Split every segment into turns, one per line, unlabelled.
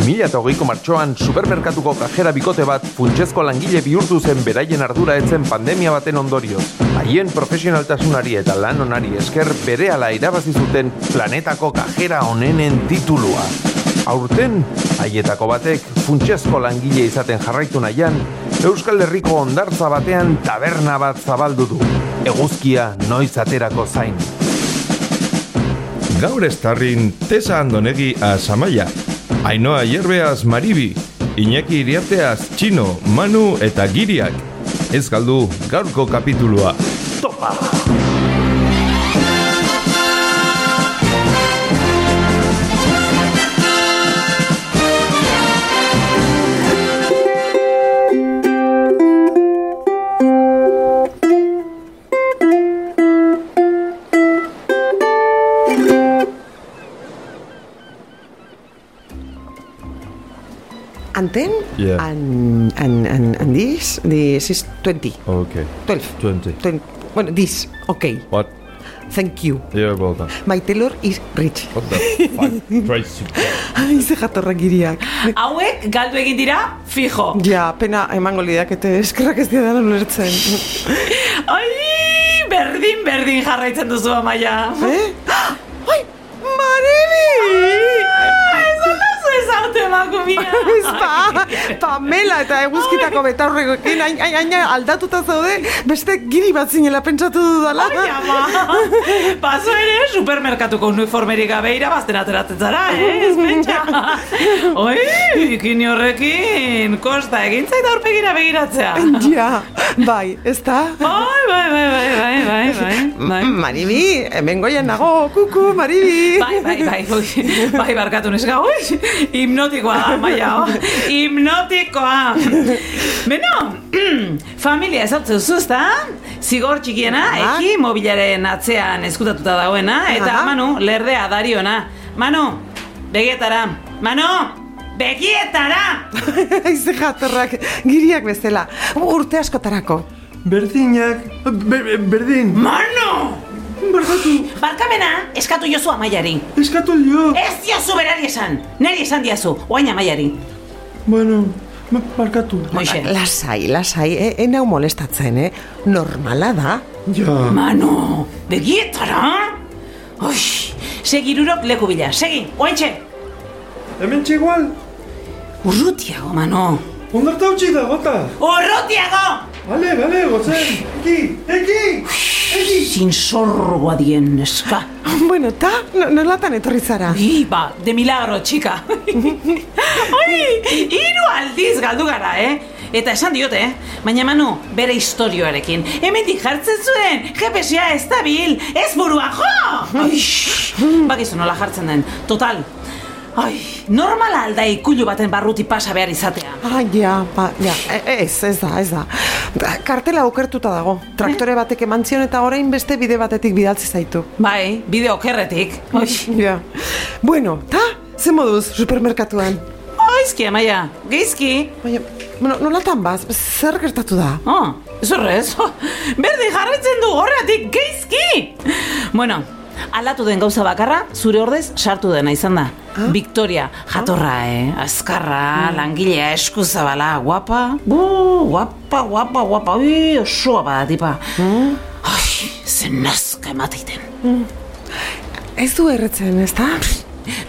2008ko martxoan supermerkatuko kajera bikote bat funtsezko langile bihurtu zen beraien ardura etzen pandemia baten ondorio. Haien profesionaltasunari eta lan onari esker berehala irabazi zuten planetako kajera onenen titulua. Aurten, haietako batek funtsezko langile izaten jarraitu nahian, Euskal Herriko ondartza batean taberna bat zabaldu du. Eguzkia noiz aterako zain.
Gaur estarrin Tesa Andonegi Azamaia, Ainoa Hierbeaz Maribi, Iñaki Iriarteaz Txino, Manu eta Giriak. Ez galdu gaurko kapitulua.
Topa!
Anten?
Yeah.
And, and, and, and this? This is 20.
Okay.
12.
20.
20. Bueno, this. Okay.
What?
Thank you.
You're welcome.
My tailor is rich.
What the fuck? Tracy.
Ai, ze jatorra giriak.
Hauek galdu egin dira, fijo.
Ja, pena emango lidakete eskerrak ez dira ulertzen.
Ai, berdin, berdin jarraitzen duzu, Amaia.
eh? Ai, Maribi!
Ah, Ez olazu ezautu emakumia.
Ez ba, Pamela eta eguzkitako betaurrekoekin hain, hain, hain aldatuta zaude, beste giri bat zinela pentsatu dudala.
Ai, ama. Paso ere, supermerkatuko uniformerik gabe irabazten ateratzen zara, eh? Ez pentsa. Oi, bikini horrekin, kosta egin zait aurpegira begiratzea.
Ja, bai, ez da?
Bai, bai, bai, bai, bai, bai, bai, bai.
Mm, Maribi, hemen goian nago, kuku, Maribi.
Bai, bai, bai, ui, bai, barkatu neska, ui, hipnotikoa da, maia, oh, hipnotikoa. Beno, familia ezartzen duzu, ezta? Zigor txikiena,
Aha.
eki mobilaren atzean ezkutatuta dagoena, eta
Aha.
Manu, lerdea dariona. Manu, begietara, Manu, begietara!
Aize jatorrak, giriak bezala, urte askotarako.
Berdinak, ber, berdin,
Manu!
barkatu,
Barkamena, eskatu jozu amaiari.
eskatu dio.
Ez diozu berari esan, neri esan diazu, oain amaiari.
Bueno, barkatu.
Moixe.
Ba, Lasai, lasai, e, e nau molestatzen, eh? Normala da.
Ja.
Mano, begietara? Oix, segirurok leku bila, segi, oaintxe!
Hemen txigual,
Urrutiago, mano!
ondarta utzi da, gota.
Urrutiago!
Ale, ale, gotzen, eki, eki, eki.
Sin zorroa dien, eska!
Bueno, ta, no- nolatan etorri zara?
Bi, ba, de milagro, txika! Oi, hiru aldiz galdu gara, eh? Eta esan diote, eh? Baina Manu, bere historioarekin. Hemendik jartzen zuen, GPSa ez da bil, ez burua jo! Oix, bakizu nola jartzen den, total. Ai, normala alda ikulu baten barruti pasa behar izatea.
Ah, ja, ba, ja, e- ez, ez da, ez da. Kartela okertuta dago, traktore batek eman zion eta orain beste bide batetik bidaltzi zaitu.
Bai, bideo kerretik. Oix,
Ja. Bueno, ta, ze moduz supermerkatuan?
oizki, amaia, geizki.
Baina, bueno, nolatan baz, zer gertatu da?
Ah, ez horrez, berdi jarraitzen du horretik geizki! Bueno, alatu den gauza bakarra, zure ordez sartu dena izan da. Victoria, jatorra, eh? Azkarra, langilea, eskuzabala, guapa, bu, guapa, guapa, guapa, ui, osoa bada tipa. Ai, zen nazka emateiten.
Ez du erretzen, ez da?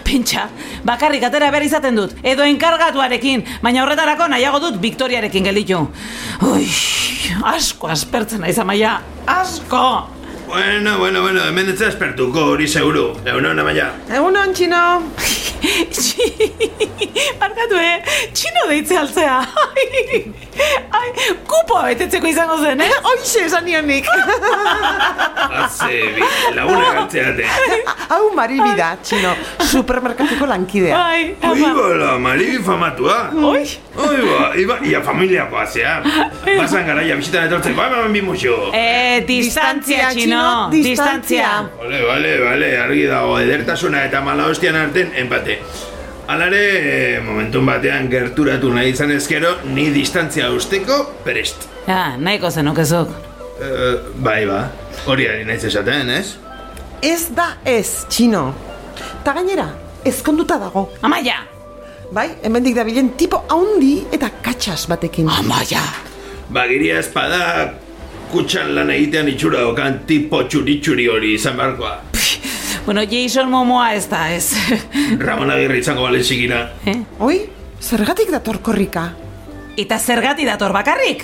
Pentsa, bakarrik atera behar izaten dut, edo enkargatuarekin, baina horretarako nahiago dut Victoriarekin gelditu. Ui, asko aspertzen naiz amaia, asko!
Bueno, bueno, bueno, hemen ez da espertuko hori seguru. Egunon, amaia.
Egun hon, txino!
Barkatu, eh? Txino deitze altzea. Ai, kupoa betetzeko izango zen, eh?
Hoxe esan nionik!
Haze, bi- laguna gantzeate.
Hau maribi da, txino, supermerkatuko lankidea.
Ai, ama.
Oibola, maribi famatua.
Oi,
Oiba, iba, ia familiakoa zea. Basan garaia bisitan etortzen, bai, bai, bimuxo.
eh, distantzia, txino, distantzia.
Bale, bale, bale, argi dago, edertasuna eta mala hostian arten empate. Alare, momentun batean gerturatu nahi izan ezkero, ni distantzia usteko prest.
Ja, nahiko zenukezuk.
Eh, bai, ba, hori ari naiz esaten, ez?
Ez da ez, txino. Ta gainera, ezkonduta dago.
Amaia,
bai? Hemendik da bilen tipo haundi eta katxas batekin.
Amaia!
Bagiria espada kutxan lan egitean itxura dokan tipo txuri-txuri hori izan beharkoa.
Bueno, Jason Momoa ez da, ez.
Ramon Agirre izango balezikina.
Eh?
Oi, zergatik dator korrika?
Eta zergati dator bakarrik?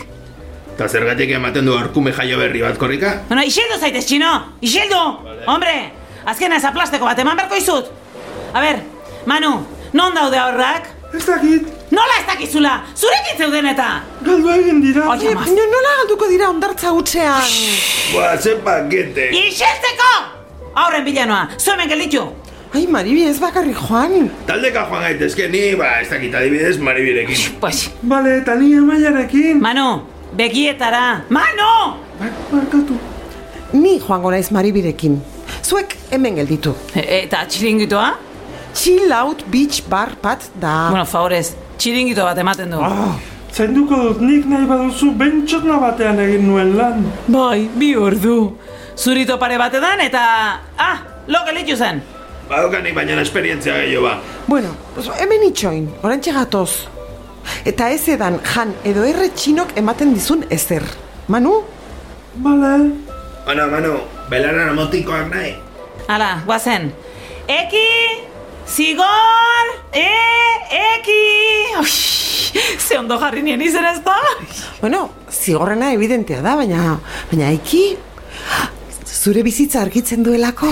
Ta zergatik ematen du arkume jaio berri bat korrika?
Bueno, isildu zaitez, txino! Isildu! Hombre, azkena ez aplasteko bat eman beharko izut! A ber, Manu, non daude aurrak?
Ez dakit,
Nola ez dakizula? Zurekin zeuden eta!
galdu egin dira.
Oia,
Oye,
ma...
baina Eh, nola galduko dira ondartza hutsean?
Boa, ze pakete.
Isiltzeko! Aurren bilanoa, zuemen gelditu!
Ai, Maribi, ez bakarrik joan.
Taldeka joan gaitezke ni, ba, ez dakit adibidez, maribirekin.
Pues,
Bale, eta ni amaiarekin.
Manu, begietara! Manu!
Barkatu.
Ni joango naiz Maribirekin. Zuek hemen gelditu.
E- eta txiringitoa?
Chill out beach bar bat da.
Bueno, favorez, txiringito bat ematen du.
Ah. Zainduko dut nik nahi baduzu bentsorna batean egin nuen lan.
Bai, bi ordu. Zurito pare bat edan eta... Ah, lo gelditu zen.
Badaukanik baina esperientzia gehiago ba.
Bueno, pues hemen itxoin, orantxe gatoz. Eta ez edan jan edo erre txinok ematen dizun ezer. Manu?
Bale,
Ana, mano, belaran amotikoak nahi.
Hala, guazen. Eki, zigor, e, eki. Oix, ze ondo jarri nien izen ez da?
Bueno, zigorrena evidentea da, baina, baina iki, zure bizitza argitzen duelako.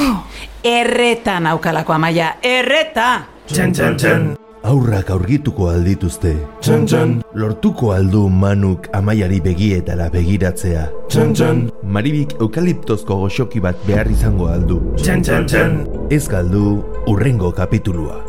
Erreta naukalako amaia, erreta.
Txan, txan, txan.
Aurrak aurgituko aldituzte. Txan txan. Lortuko aldu manuk amaiari begietara begiratzea. Txan txan. Maribik eukaliptozko goxoki bat behar izango aldu. Txan txan txan. Ez galdu urrengo kapitulua.